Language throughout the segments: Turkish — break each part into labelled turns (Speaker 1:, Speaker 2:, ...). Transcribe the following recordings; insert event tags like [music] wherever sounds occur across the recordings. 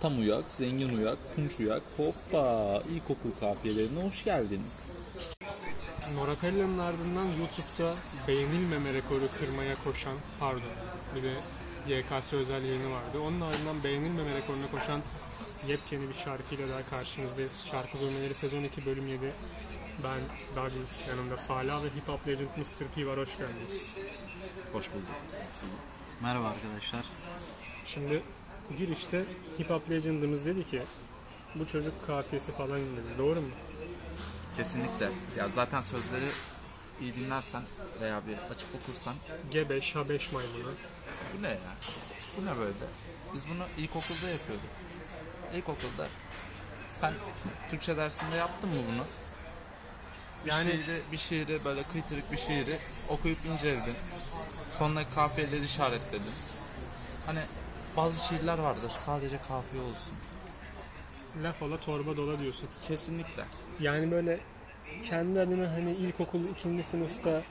Speaker 1: Tam uyak, zengin uyak, tunç uyak, hoppa ilkokul kafiyelerine hoş geldiniz.
Speaker 2: Nora Pella'nın ardından YouTube'da beğenilmeme rekoru kırmaya koşan, pardon bir de YKS özel yayını vardı. Onun ardından beğenilmeme rekoruna koşan yepyeni bir şarkıyla daha karşınızdayız. Şarkı Gurmeleri Sezon 2 Bölüm 7. Ben Douglas, yanımda Fala ve Hip Hop Legend Mr. P var. Hoş geldiniz.
Speaker 3: Hoş bulduk. Merhaba arkadaşlar.
Speaker 2: Şimdi girişte Hip Hop Legend'ımız dedi ki bu çocuk kafiyesi falan dedi. Doğru mu?
Speaker 3: Kesinlikle. Ya zaten sözleri iyi dinlersen veya bir açıp okursan
Speaker 2: Gebe, şabeş maymunu.
Speaker 3: bu ne ya? Bu ne böyle? Biz bunu ilkokulda yapıyorduk. İlkokulda sen Türkçe dersinde yaptın mı bunu? Yani
Speaker 2: Yani-
Speaker 3: bir şiiri, bir şiiri böyle kıytırık bir şiiri okuyup inceledin. Sonra kafiyeleri işaretledin. Hani bazı şiirler vardır sadece kafiye olsun.
Speaker 2: Laf ola torba dola diyorsun.
Speaker 3: Kesinlikle.
Speaker 2: Yani böyle kendi adına hani ilkokul ikinci sınıfta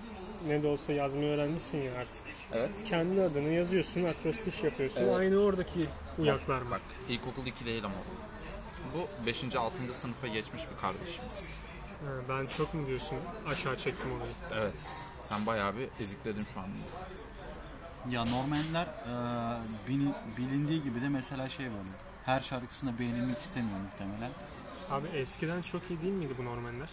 Speaker 2: ne de olsa yazmayı öğrenmişsin ya artık.
Speaker 3: Evet.
Speaker 2: Kendi adını yazıyorsun, akrostiş yapıyorsun.
Speaker 3: Evet.
Speaker 2: Aynı oradaki uyaklar mı?
Speaker 3: Bak ilkokul 2 değil ama. Bu 5. 6. sınıfa geçmiş bir kardeşimiz.
Speaker 2: Ha, ben çok mu diyorsun aşağı çektim olayı.
Speaker 3: Evet. Sen bayağı bir ezikledin şu an.
Speaker 4: Ya normaller e, bil- bilindiği gibi de mesela şey böyle. Her şarkısında beğenilmek istemiyor muhtemelen.
Speaker 2: Abi eskiden çok iyi değil miydi bu normaller?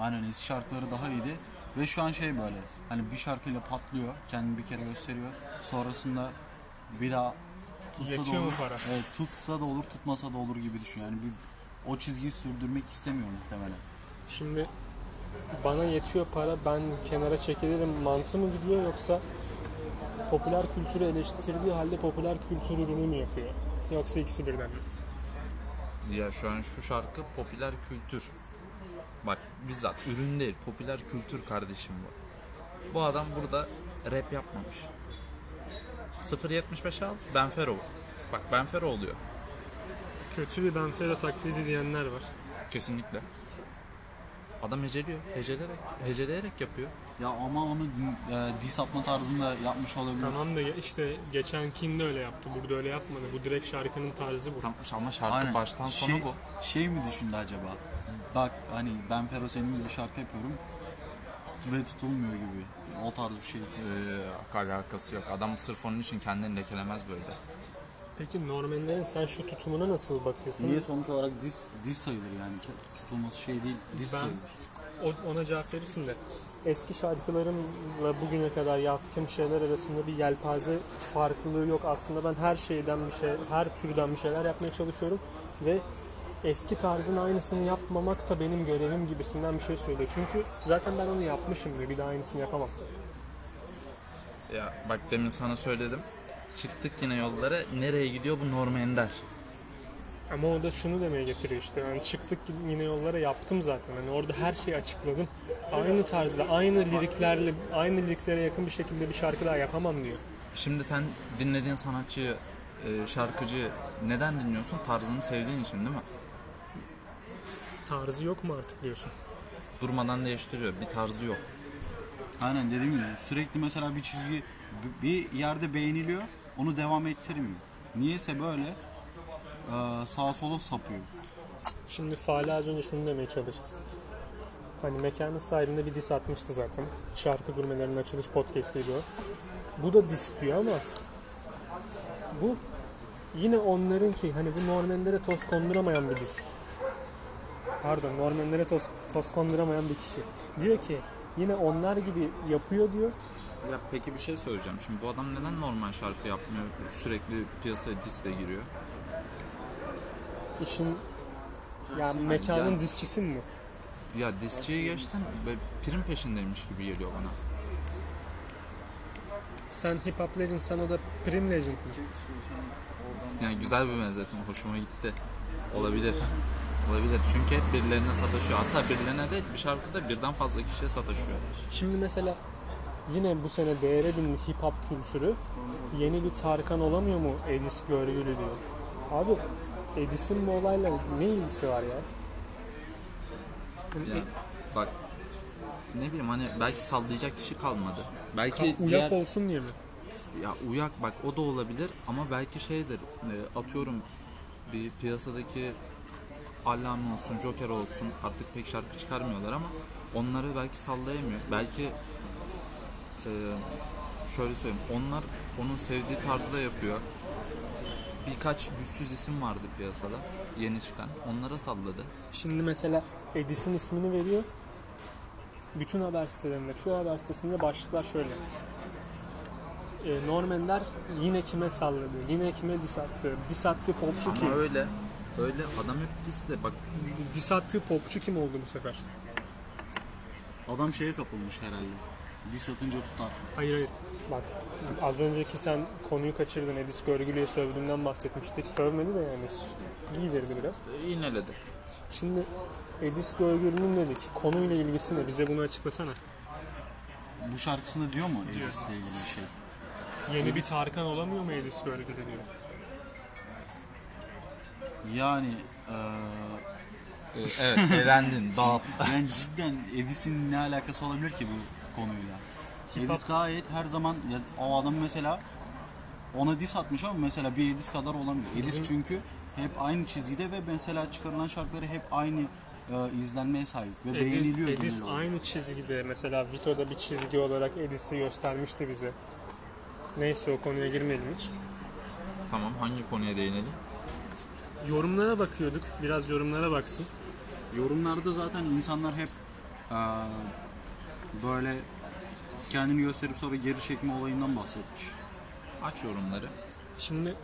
Speaker 4: Aynen eski şarkıları daha iyiydi. Ve şu an şey böyle. Hani bir şarkıyla patlıyor. Kendini bir kere gösteriyor. Sonrasında bir daha tutsa da
Speaker 2: Yetiyor mu
Speaker 4: olur.
Speaker 2: para?
Speaker 4: Evet, tutsa da olur tutmasa da olur gibi düşünüyor. Yani bir, o çizgiyi sürdürmek istemiyor muhtemelen.
Speaker 2: Şimdi bana yetiyor para ben kenara çekilirim mantığı mı gidiyor yoksa popüler kültürü eleştirdiği halde popüler kültür ürünü mü yapıyor? Yoksa ikisi birden mi?
Speaker 3: Ya şu an şu şarkı popüler kültür. Bak bizzat ürün değil popüler kültür kardeşim bu. Bu adam burada rap yapmamış. 0.75 al Benfero. Bak Benfero oluyor.
Speaker 2: Kötü bir Benfero taklidi diyenler var.
Speaker 3: Kesinlikle. Adam heceliyor. Heceleyerek, heceleyerek yapıyor.
Speaker 4: Ya ama onu e, diss atma tarzında yapmış olabilir.
Speaker 2: Tamam da işte geçenkinde öyle yaptı. Burada öyle yapmadı. Bu direkt şarkının tarzı bu.
Speaker 3: Tam- Ama şarkı
Speaker 4: Aynen.
Speaker 3: baştan sona
Speaker 4: şey,
Speaker 3: bu.
Speaker 4: Şey mi düşündü acaba? Bak hani ben Fero senin gibi şarkı yapıyorum ve tutulmuyor gibi. O tarz bir şey.
Speaker 3: Ee, alakası yok. Adam sırf onun için kendini lekelemez böyle.
Speaker 2: Peki Normanlerin sen şu tutumuna nasıl bakıyorsun?
Speaker 4: Niye sonuç olarak diz, diz sayılır yani? Ke- Tutulması şey değil, diz
Speaker 2: Ben-
Speaker 4: sayılır.
Speaker 2: O- ona cevap verirsin de. Eski şarkılarımla bugüne kadar yaptığım şeyler arasında bir yelpaze farklılığı yok. Aslında ben her şeyden bir şey, her türden bir şeyler yapmaya çalışıyorum ve eski tarzın aynısını yapmamak da benim görevim gibisinden bir şey söylüyor. Çünkü zaten ben onu yapmışım ve bir daha aynısını yapamam.
Speaker 3: Ya bak demin sana söyledim. Çıktık yine yollara. Nereye gidiyor bu Norm Ender?
Speaker 2: Ama o da şunu demeye getiriyor işte. Yani çıktık yine yollara yaptım zaten. Hani orada her şeyi açıkladım. Aynı tarzda, aynı liriklerle, aynı liriklere yakın bir şekilde bir şarkı daha yapamam diyor.
Speaker 3: Şimdi sen dinlediğin sanatçıyı, e, şarkıcıyı neden dinliyorsun? Tarzını sevdiğin için değil mi?
Speaker 2: Tarzı yok mu artık diyorsun?
Speaker 3: Durmadan değiştiriyor. Bir tarzı yok.
Speaker 4: Aynen dediğim gibi sürekli mesela bir çizgi b- bir yerde beğeniliyor, onu devam ettirmiyor. Niyeyse böyle e, sağa sola sapıyor.
Speaker 2: Şimdi Fale az önce şunu demeye çalıştı. Hani mekanın sahibinde bir diss atmıştı zaten. Şarkı gurmelerinin açılış podcast'iydi o. Bu da diss diyor ama bu yine onların ki hani bu Normanlere toz konduramayan bir diss. Pardon Normanlere toz, toz konduramayan bir kişi. Diyor ki yine onlar gibi yapıyor diyor.
Speaker 3: Ya peki bir şey söyleyeceğim. Şimdi bu adam neden normal şarkı yapmıyor? Sürekli piyasaya disle giriyor.
Speaker 2: İşin yani mekanın
Speaker 3: yani-
Speaker 2: disçisi mi?
Speaker 3: Ya disçiyi geçtim ve prim peşindeymiş gibi geliyor bana.
Speaker 2: Sen hip hop legend sen o da prim legend mi?
Speaker 3: Yani güzel bir benzetme. Hoşuma gitti. Olabilir. Olabilir. Çünkü hep birilerine sataşıyor. Hatta birilerine değil bir şarkıda birden fazla kişiye sataşıyor.
Speaker 2: Şimdi mesela yine bu sene değere bindi hip hop kültürü. Yeni bir Tarkan olamıyor mu Edis Görgülü diyor. Abi Edis'in bu olayla ne ilgisi var ya?
Speaker 3: Ya bak ne bileyim hani belki sallayacak kişi kalmadı. Belki
Speaker 2: Ka-
Speaker 3: diğer,
Speaker 2: Uyak olsun diye mi?
Speaker 3: ya uyak bak o da olabilir ama belki şeydir e, atıyorum bir piyasadaki Allame olsun, Joker olsun artık pek şarkı çıkarmıyorlar ama onları belki sallayamıyor. Belki e, şöyle söyleyeyim. Onlar onun sevdiği tarzda yapıyor. Birkaç güçsüz isim vardı piyasada yeni çıkan. Onlara salladı.
Speaker 2: Şimdi mesela Edis'in ismini veriyor. Bütün haber sitelerinde, çoğu haber sitesinde başlıklar şöyle. E, Normanler yine kime salladı, yine kime dis attı, dis attığı popçu kim?
Speaker 3: Ama öyle öyle adam hep disle bak
Speaker 2: Dis attığı popçu kim oldu bu sefer?
Speaker 4: Adam şeye kapılmış herhalde. Bir satınca tutar.
Speaker 2: Hayır hayır. Bak az önceki sen konuyu kaçırdın. Edis Görgülü'ye sövdüğünden bahsetmiştik. Sövmedi de yani. İyidirdi biraz.
Speaker 3: e, iğneledi.
Speaker 2: Şimdi Edis Görgülü'nün dedik. Konuyla ilgisi ne? Bize bunu açıklasana.
Speaker 4: Bu şarkısında diyor mu Elvis'le ilgili bir şey?
Speaker 2: Yeni bir Tarkan olamıyor mu Edis Görgülü diyor.
Speaker 4: şey. Yani eee
Speaker 3: E, evet eğlendin dağıt.
Speaker 4: ben cidden Edis'in ne alakası olabilir ki bu konuyla?
Speaker 2: Hip hop-
Speaker 4: Edis gayet her zaman ya, o adam mesela ona dis atmış ama mesela bir Edis kadar olamıyor. Edis
Speaker 2: Bizim-
Speaker 4: çünkü hep aynı çizgide ve mesela çıkarılan şarkıları hep aynı e, izlenmeye sahip ve beğeniliyor
Speaker 2: Edis, Edis
Speaker 4: genel olarak.
Speaker 2: aynı çizgide. Mesela Vito'da bir çizgi olarak Edis'i göstermişti bize. Neyse o konuya girmeyelim hiç.
Speaker 3: [laughs] tamam hangi konuya değinelim?
Speaker 2: Yorumlara bakıyorduk. Biraz yorumlara baksın.
Speaker 4: Yorumlarda zaten insanlar hep e, böyle kendini gösterip sonra geri çekme olayından bahsetmiş.
Speaker 3: Aç yorumları.
Speaker 2: Şimdi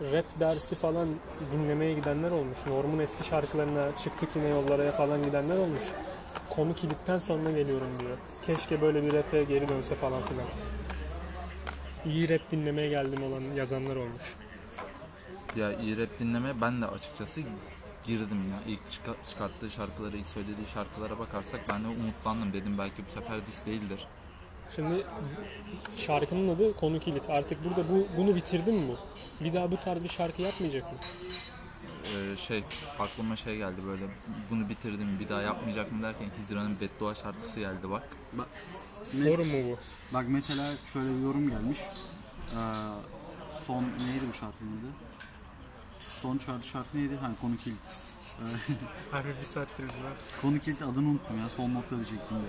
Speaker 2: rap dersi falan dinlemeye gidenler olmuş. Norm'un eski şarkılarına çıktık yine yollara falan gidenler olmuş. Konu kilitten sonra geliyorum diyor. Keşke böyle bir rap'e geri dönse falan filan. İyi rap dinlemeye geldim olan yazanlar olmuş.
Speaker 3: Ya iyi rap dinleme ben de açıkçası girdim ya. İlk çıka- çıkarttığı şarkılara, ilk söylediği şarkılara bakarsak ben de umutlandım. Dedim belki bu sefer diss değildir.
Speaker 2: Şimdi şarkının adı Konu Kilit. Artık burada bu, bunu bitirdin mi? Bir daha bu tarz bir şarkı yapmayacak mı?
Speaker 3: Ee, şey aklıma şey geldi böyle bunu bitirdim bir daha yapmayacak mı derken Hidra'nın beddua şarkısı geldi bak.
Speaker 4: Bak,
Speaker 2: Sorun mu bu?
Speaker 4: Bak mesela şöyle bir yorum gelmiş. Ee, son neydi bu şarkının adı? Son şarkı, şarkı neydi? Ha konu kilit.
Speaker 2: Abi bir saattir biz
Speaker 4: Konu kilit adını unuttum ya. Son nokta diyecektim ya.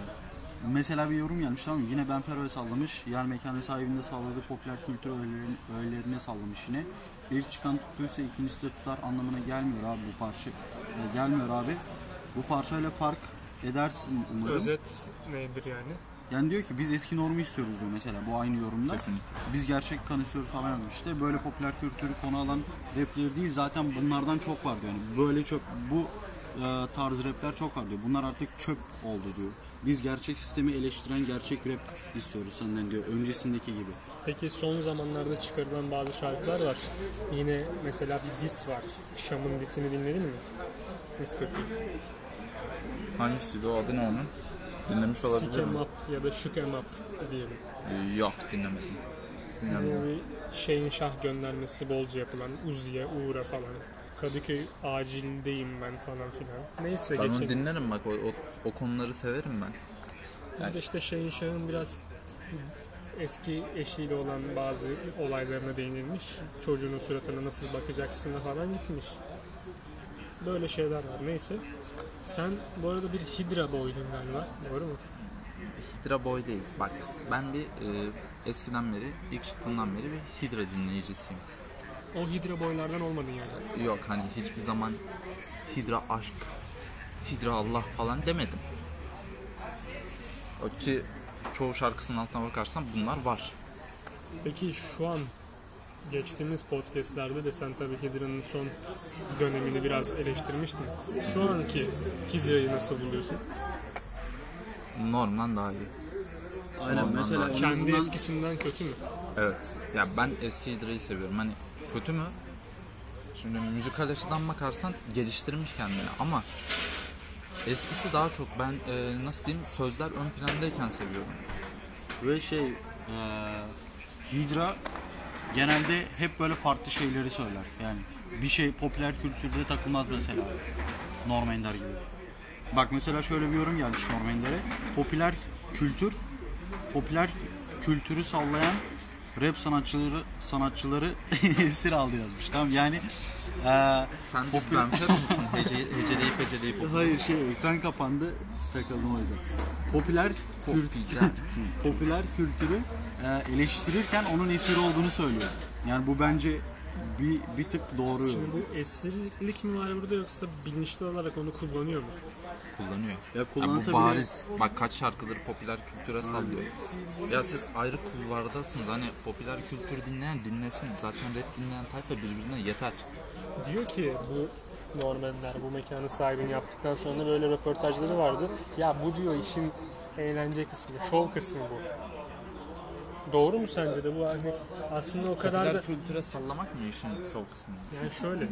Speaker 4: Mesela bir yorum gelmiş tamam mı? Yine Ben Fero'ya sallamış. Yer mekanı sahibinde salladığı popüler kültür öğelerine, öğelerine sallamış yine. İlk çıkan tuttuysa ikincisi de tutar anlamına gelmiyor abi bu parça. Ee, gelmiyor abi. Bu parçayla fark edersin umarım.
Speaker 2: Özet nedir yani?
Speaker 4: Yani diyor ki biz eski normu istiyoruz diyor mesela bu aynı yorumda.
Speaker 3: Kesinlikle.
Speaker 4: Biz gerçek kan istiyoruz falan yazmış. İşte böyle popüler kültürü konu alan rapleri değil zaten bunlardan çok var diyor. Yani böyle çok bu e, tarz rapler çok var diyor. Bunlar artık çöp oldu diyor. Biz gerçek sistemi eleştiren gerçek rap istiyoruz senden diyor. Öncesindeki gibi.
Speaker 2: Peki son zamanlarda çıkarılan bazı şarkılar var. Yine mesela bir diss var. Şam'ın dissini dinledin mi? Mr. P.
Speaker 3: Hangisiydi o adı ne onun? Dinlemiş
Speaker 2: Sick
Speaker 3: olabilir
Speaker 2: em
Speaker 3: mi?
Speaker 2: up ya da shook em up diyelim.
Speaker 3: Ee, Yok dinlemedim.
Speaker 2: Bu
Speaker 3: Dinlemedim.
Speaker 2: bir şeyin şah göndermesi bolca yapılan. Uzi'ye, Uğur'a falan. Kadıköy acildeyim ben falan filan. Neyse
Speaker 3: Ben onu
Speaker 2: geçelim.
Speaker 3: dinlerim bak o, o, o konuları severim ben.
Speaker 2: Bir de işte şeyin şahın biraz eski eşiyle olan bazı olaylarına değinilmiş. Çocuğunun suratına nasıl bakacaksın falan gitmiş. Böyle şeyler var. Neyse. Sen bu arada bir Hidra boydun galiba. Doğru mu?
Speaker 3: Hidra boy değil. Bak ben bir e, eskiden beri ilk çıktığından beri bir Hidra dinleyicisiyim.
Speaker 2: O Hidra boylardan olmadın yani.
Speaker 3: Yok hani hiçbir zaman Hidra aşk, Hidra Allah falan demedim. O ki çoğu şarkısının altına bakarsan bunlar var.
Speaker 2: Peki şu an geçtiğimiz podcastlerde de sen tabii Hidra'nın son dönemini biraz eleştirmiştin. Şu anki Hidra'yı nasıl buluyorsun?
Speaker 3: Normdan daha iyi.
Speaker 4: Aynen
Speaker 3: Ondan
Speaker 4: mesela
Speaker 3: daha-
Speaker 4: en
Speaker 2: Kendi
Speaker 4: azından-
Speaker 2: eskisinden kötü mü?
Speaker 3: Evet. Ya ben eski Hidra'yı seviyorum. Hani kötü mü? Şimdi müzikal açıdan bakarsan geliştirmiş kendini ama eskisi daha çok ben e, nasıl diyeyim sözler ön plandayken seviyorum.
Speaker 4: Ve şey eee, Hydra genelde hep böyle farklı şeyleri söyler. Yani bir şey popüler kültürde takılmaz mesela. Norm Ender gibi. Bak mesela şöyle bir yorum gelmiş Norm Ender'e. Popüler kültür, popüler kültürü [laughs] sallayan rap sanatçıları sanatçıları esir aldı yazmış. Tamam yani Ee,
Speaker 3: Sen
Speaker 4: Popül-
Speaker 3: düzlemşer musun? Hece, heceleyip
Speaker 4: [laughs]
Speaker 3: heceleyip okudun.
Speaker 4: hayır şey ekran kapandı takıldım o yüzden. Popüler kült,
Speaker 3: Güzel.
Speaker 4: popüler kültürü e, eleştirirken onun esiri olduğunu söylüyor. Yani bu bence bir, bir tık doğru. yol.
Speaker 2: Şimdi bu esirlik mi var burada yoksa bilinçli olarak onu kullanıyor mu?
Speaker 3: kullanıyor.
Speaker 4: Ya
Speaker 3: Yani
Speaker 4: kullansa
Speaker 3: bu
Speaker 4: bile-
Speaker 3: bariz. Bak kaç şarkıdır popüler kültüre sallıyor. Ya siz ayrı kulvardasınız. Hani popüler kültür dinleyen dinlesin. Zaten rap dinleyen tayfa birbirine yeter.
Speaker 2: Diyor ki bu Normanlar bu mekanın sahibini yaptıktan sonra böyle röportajları vardı. Ya bu diyor işin eğlence kısmı, şov kısmı bu. Doğru mu sence de bu hani aslında o kadar da
Speaker 3: Popüler kültüre sallamak mı işin şov kısmı?
Speaker 2: yani şöyle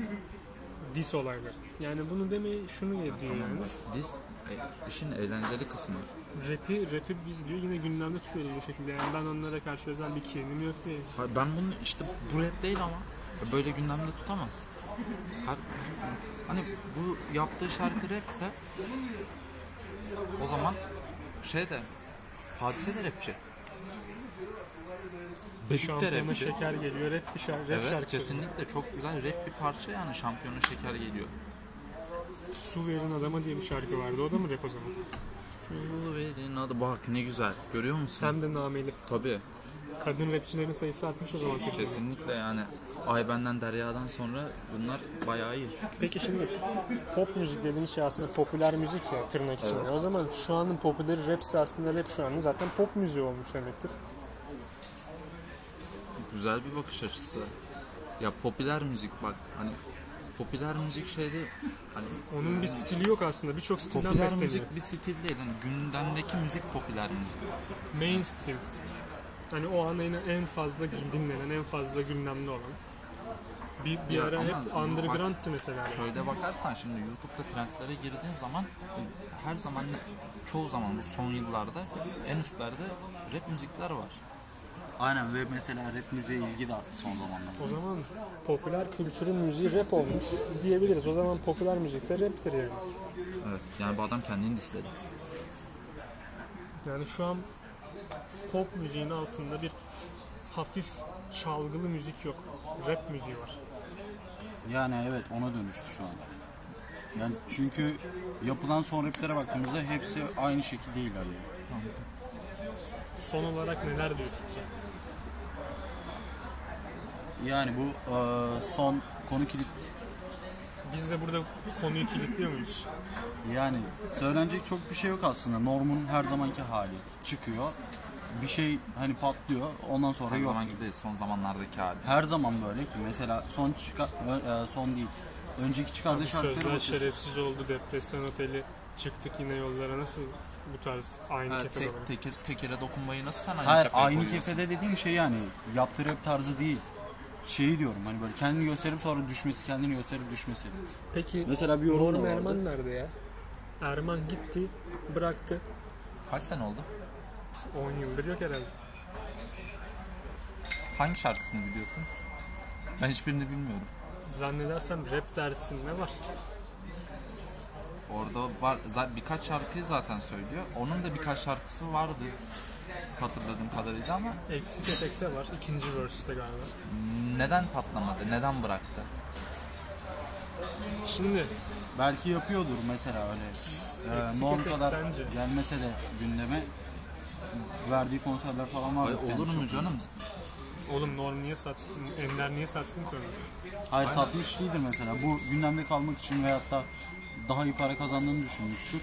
Speaker 2: dis olayları. Yani bunu demeyi şunu diyor yani.
Speaker 3: Diz e, işin eğlenceli kısmı.
Speaker 2: Rapi, rapi biz diyor yine gündemde tutuyoruz bu şekilde. Yani ben onlara karşı özel bir kinim yok diye.
Speaker 3: Ha, Ben bunu işte bu rap değil ama böyle gündemde tutamaz. Ha- Hani bu yaptığı şarkı rapse o zaman şey de hadise de rapçi. Beşik de
Speaker 2: Şampiyona
Speaker 3: rapçi.
Speaker 2: şeker geliyor, rap, bir şarkı, rap
Speaker 3: Evet
Speaker 2: şarkısı.
Speaker 3: kesinlikle çok güzel rap bir parça yani şampiyona şeker geliyor.
Speaker 2: Su verin adama diye bir şarkı vardı. O da mı rap o zaman?
Speaker 3: Tuğlu verin adı bak ne güzel görüyor musun?
Speaker 2: Hem de nameli.
Speaker 3: Tabii
Speaker 2: Kadın rapçilerin sayısı artmış o zaman. Türkiye'de.
Speaker 3: kesinlikle yani Ay Benden Derya'dan sonra bunlar bayağı iyi.
Speaker 2: Peki şimdi pop müzik dediğimiz şey aslında popüler müzik ya tırnak içinde. O zaman şu anın popüleri rapsi aslında rap şu anın zaten pop müziği olmuş demektir.
Speaker 3: Güzel bir bakış açısı. Ya popüler müzik bak hani popüler müzik şeyde hani
Speaker 2: Onun bir stili yok aslında. Birçok stilden
Speaker 3: popüler
Speaker 2: besleniyor.
Speaker 3: müzik bir stil değil. Hani gündemdeki müzik popüler müzik.
Speaker 2: Mainstream. Hani o an en, en fazla dinlenen, en fazla gündemli olan. Bir, bir
Speaker 3: Ya
Speaker 2: ara
Speaker 3: ama
Speaker 2: hep
Speaker 3: bak-
Speaker 2: underground'tı mesela.
Speaker 3: Şöyle bakarsan şimdi YouTube'da trendlere girdiğin zaman e, her zaman çoğu zaman bu son yıllarda en üstlerde rap müzikler var.
Speaker 4: Aynen ve mesela rap müziğe ilgi de arttı son zamanlarda.
Speaker 2: O zaman popüler kültürün müziği rap olmuş diyebiliriz. O zaman popüler müzikte raptir yani.
Speaker 3: Evet yani bu adam kendini disledi.
Speaker 2: Yani şu an pop müziğin altında bir hafif çalgılı müzik yok. Rap müziği var.
Speaker 4: Yani evet ona dönüştü şu an. Yani çünkü yapılan son raplere baktığımızda hepsi aynı şekilde ilerliyor.
Speaker 2: Son olarak neler diyorsun sen?
Speaker 4: Yani bu eee, son konu kilit
Speaker 2: Biz de burada bu konuyu kilitliyor muyuz?
Speaker 4: Yani söylenecek çok bir şey yok aslında. Normun her zamanki hali çıkıyor. Bir şey hani patlıyor. Ondan sonra
Speaker 3: Her
Speaker 4: yok.
Speaker 3: zaman gibi son zamanlardaki hali.
Speaker 4: Her zaman böyle ki mesela son çıkar ö- e, son değil. Önceki çıkardığı şarkılara
Speaker 2: Sözler
Speaker 4: bakıyorsun.
Speaker 2: şerefsiz oldu, depresyon oteli, çıktık yine yollara nasıl bu tarz aynı
Speaker 3: Ha,
Speaker 2: kefede
Speaker 3: tek,
Speaker 2: olarak?
Speaker 3: teker, tekere dokunmayı nasıl sen aynı
Speaker 4: Hayır
Speaker 3: kefeye
Speaker 4: aynı
Speaker 3: koyuyorsun?
Speaker 4: kefede dediğim şey yani yaptığı rap tarzı değil. Şeyi diyorum hani böyle kendini gösterip sonra düşmesi, kendini gösterip düşmesi.
Speaker 2: Peki
Speaker 4: Mesela bir yorum da
Speaker 2: Norm
Speaker 4: vardı.
Speaker 2: Erman nerede ya? Erman gitti, bıraktı.
Speaker 3: Kaç sene oldu?
Speaker 2: 10 yıldır yok herhalde.
Speaker 3: Hangi şarkısını biliyorsun? Ben hiçbirini bilmiyorum.
Speaker 2: Zannedersem rap dersinde var.
Speaker 3: Orada var, za- birkaç şarkıyı zaten söylüyor. Onun da birkaç şarkısı vardı hatırladığım kadarıyla ama
Speaker 2: Eksik etekte var. ikinci verse'te galiba.
Speaker 3: neden patlamadı, neden bıraktı?
Speaker 2: Şimdi
Speaker 4: Belki yapıyordur mesela öyle. Ee,
Speaker 2: Eksik
Speaker 4: norm
Speaker 2: efekt
Speaker 4: kadar
Speaker 2: sence?
Speaker 4: gelmese de gündeme verdiği konserler falan var.
Speaker 3: Ay, olur mu canım?
Speaker 2: oğlum Norm niye satsın, Ender niye satsın ki onu?
Speaker 4: Hayır satmış değildir mesela. Bu gündemde kalmak için veyahut da daha iyi para kazandığını düşünmüştür.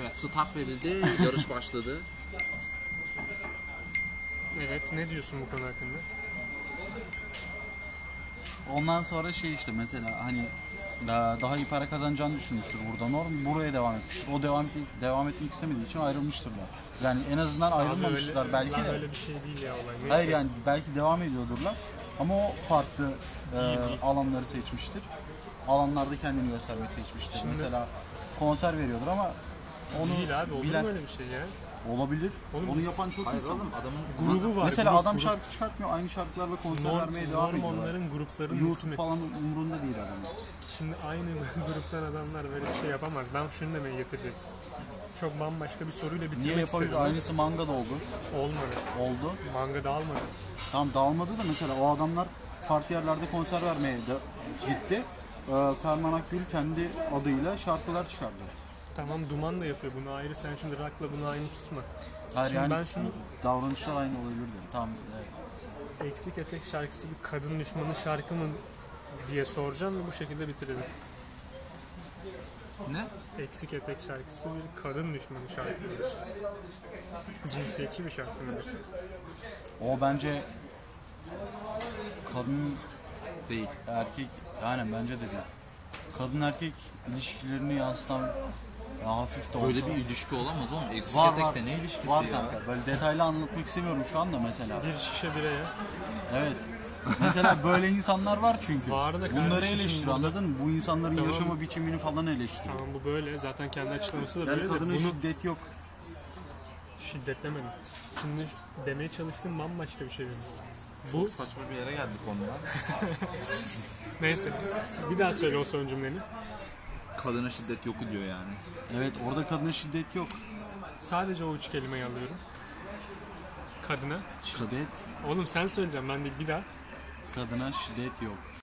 Speaker 3: Evet, start verildi, yarış [laughs] başladı.
Speaker 2: Evet ne diyorsun bu konu hakkında?
Speaker 4: Ondan sonra şey işte mesela hani daha, daha iyi para kazanacağını düşünmüştür burada Norm. Buraya devam etmiştir. O devam devam etmek istemediği için ayrılmıştırlar. Yani en azından ayrılmamışlar
Speaker 2: öyle,
Speaker 4: belki
Speaker 2: lan
Speaker 4: de.
Speaker 2: öyle bir şey değil ya olay. Neyse.
Speaker 4: Hayır yani belki devam ediyordurlar. Ama o farklı e,
Speaker 2: değil.
Speaker 4: alanları seçmiştir. Alanlarda kendini göstermeyi seçmiştir.
Speaker 2: Şimdi-
Speaker 4: mesela konser veriyordur ama onu
Speaker 2: değil abi olur
Speaker 4: bilen-
Speaker 2: mu öyle bir şey ya?
Speaker 4: olabilir.
Speaker 2: Oğlum
Speaker 4: onu
Speaker 2: biz-
Speaker 4: yapan çok
Speaker 3: Hayır
Speaker 4: insan. var.
Speaker 3: oğlum adamın
Speaker 2: Grubu var.
Speaker 4: Mesela
Speaker 2: grup,
Speaker 4: adam
Speaker 2: grup.
Speaker 4: şarkı çıkartmıyor. Aynı şarkılarla konser
Speaker 2: Norm,
Speaker 4: vermeye devam
Speaker 2: Norm
Speaker 4: ediyorlar.
Speaker 2: onların gruplarının
Speaker 4: YouTube
Speaker 2: ismi.
Speaker 4: falan umurunda değil adamın.
Speaker 2: Şimdi aynı [laughs] gruptan adamlar böyle bir şey yapamaz. Ben şunu demeye getirecektim. Çok bambaşka bir soruyla bitirmek
Speaker 4: Niye yapabilir?
Speaker 2: istedim.
Speaker 4: Aynısı manga da oldu.
Speaker 2: Olmadı.
Speaker 4: Oldu.
Speaker 2: Manga da almadı.
Speaker 4: Tam dağılmadı da mesela o adamlar farklı yerlerde konser vermeye de gitti. e, Ferman Akgül kendi adıyla şarkılar çıkardı.
Speaker 2: Tamam Duman da yapıyor bunu ayrı. Sen şimdi Rock'la bunu aynı tutma.
Speaker 4: Hayır
Speaker 2: Şimdi
Speaker 4: yani
Speaker 2: ben şunu-
Speaker 4: davranışlar aynı olabilir diyorum. Tamam. evet.
Speaker 2: Eksik Etek şarkısı bir kadın düşmanı şarkı mı diye soracağım ve bu şekilde bitirelim.
Speaker 3: Ne?
Speaker 2: Eksik Etek şarkısı bir kadın düşmanı şarkı mıdır? Cinsiyetçi bir şarkı mıdır?
Speaker 4: O bence kadın
Speaker 3: Değil.
Speaker 4: erkek yani bence de değil. Kadın erkek ilişkilerini yansıtan ya hafif de olsa.
Speaker 3: Böyle bir ilişki olamaz oğlum. Eksik
Speaker 4: var var.
Speaker 3: etekte ne ilişkisi
Speaker 4: var
Speaker 3: ya?
Speaker 4: kanka. Böyle detaylı anlatmak istemiyorum şu anda mesela.
Speaker 2: Bir şişe bireye.
Speaker 4: Evet. Mesela böyle insanlar var çünkü.
Speaker 2: Var da kardeşim
Speaker 4: Bunları eleştir
Speaker 2: şimdi
Speaker 4: anladın mı? Bu insanların
Speaker 2: Tamam.
Speaker 4: yaşama biçimini falan eleştir.
Speaker 2: Tamam bu böyle. Zaten kendi açıklaması da
Speaker 4: Yani
Speaker 2: böyle de
Speaker 4: kadına
Speaker 2: bunu
Speaker 4: şiddet yok.
Speaker 2: şiddetlemedim. Şimdi demeye çalıştığım bambaşka bir şey benim. Bu
Speaker 3: Saçma bir yere geldik onunla.
Speaker 2: neyse. Bir daha söyle o son cümleni.
Speaker 3: Kadına şiddet yok diyor yani.
Speaker 4: Evet orada kadına şiddet yok.
Speaker 2: Sadece o üç kelimeyi alıyorum. Kadına.
Speaker 4: Şiddet,
Speaker 2: Oğlum sen söyleyeceğim ben değil bir daha.
Speaker 4: kadına şiddet yok.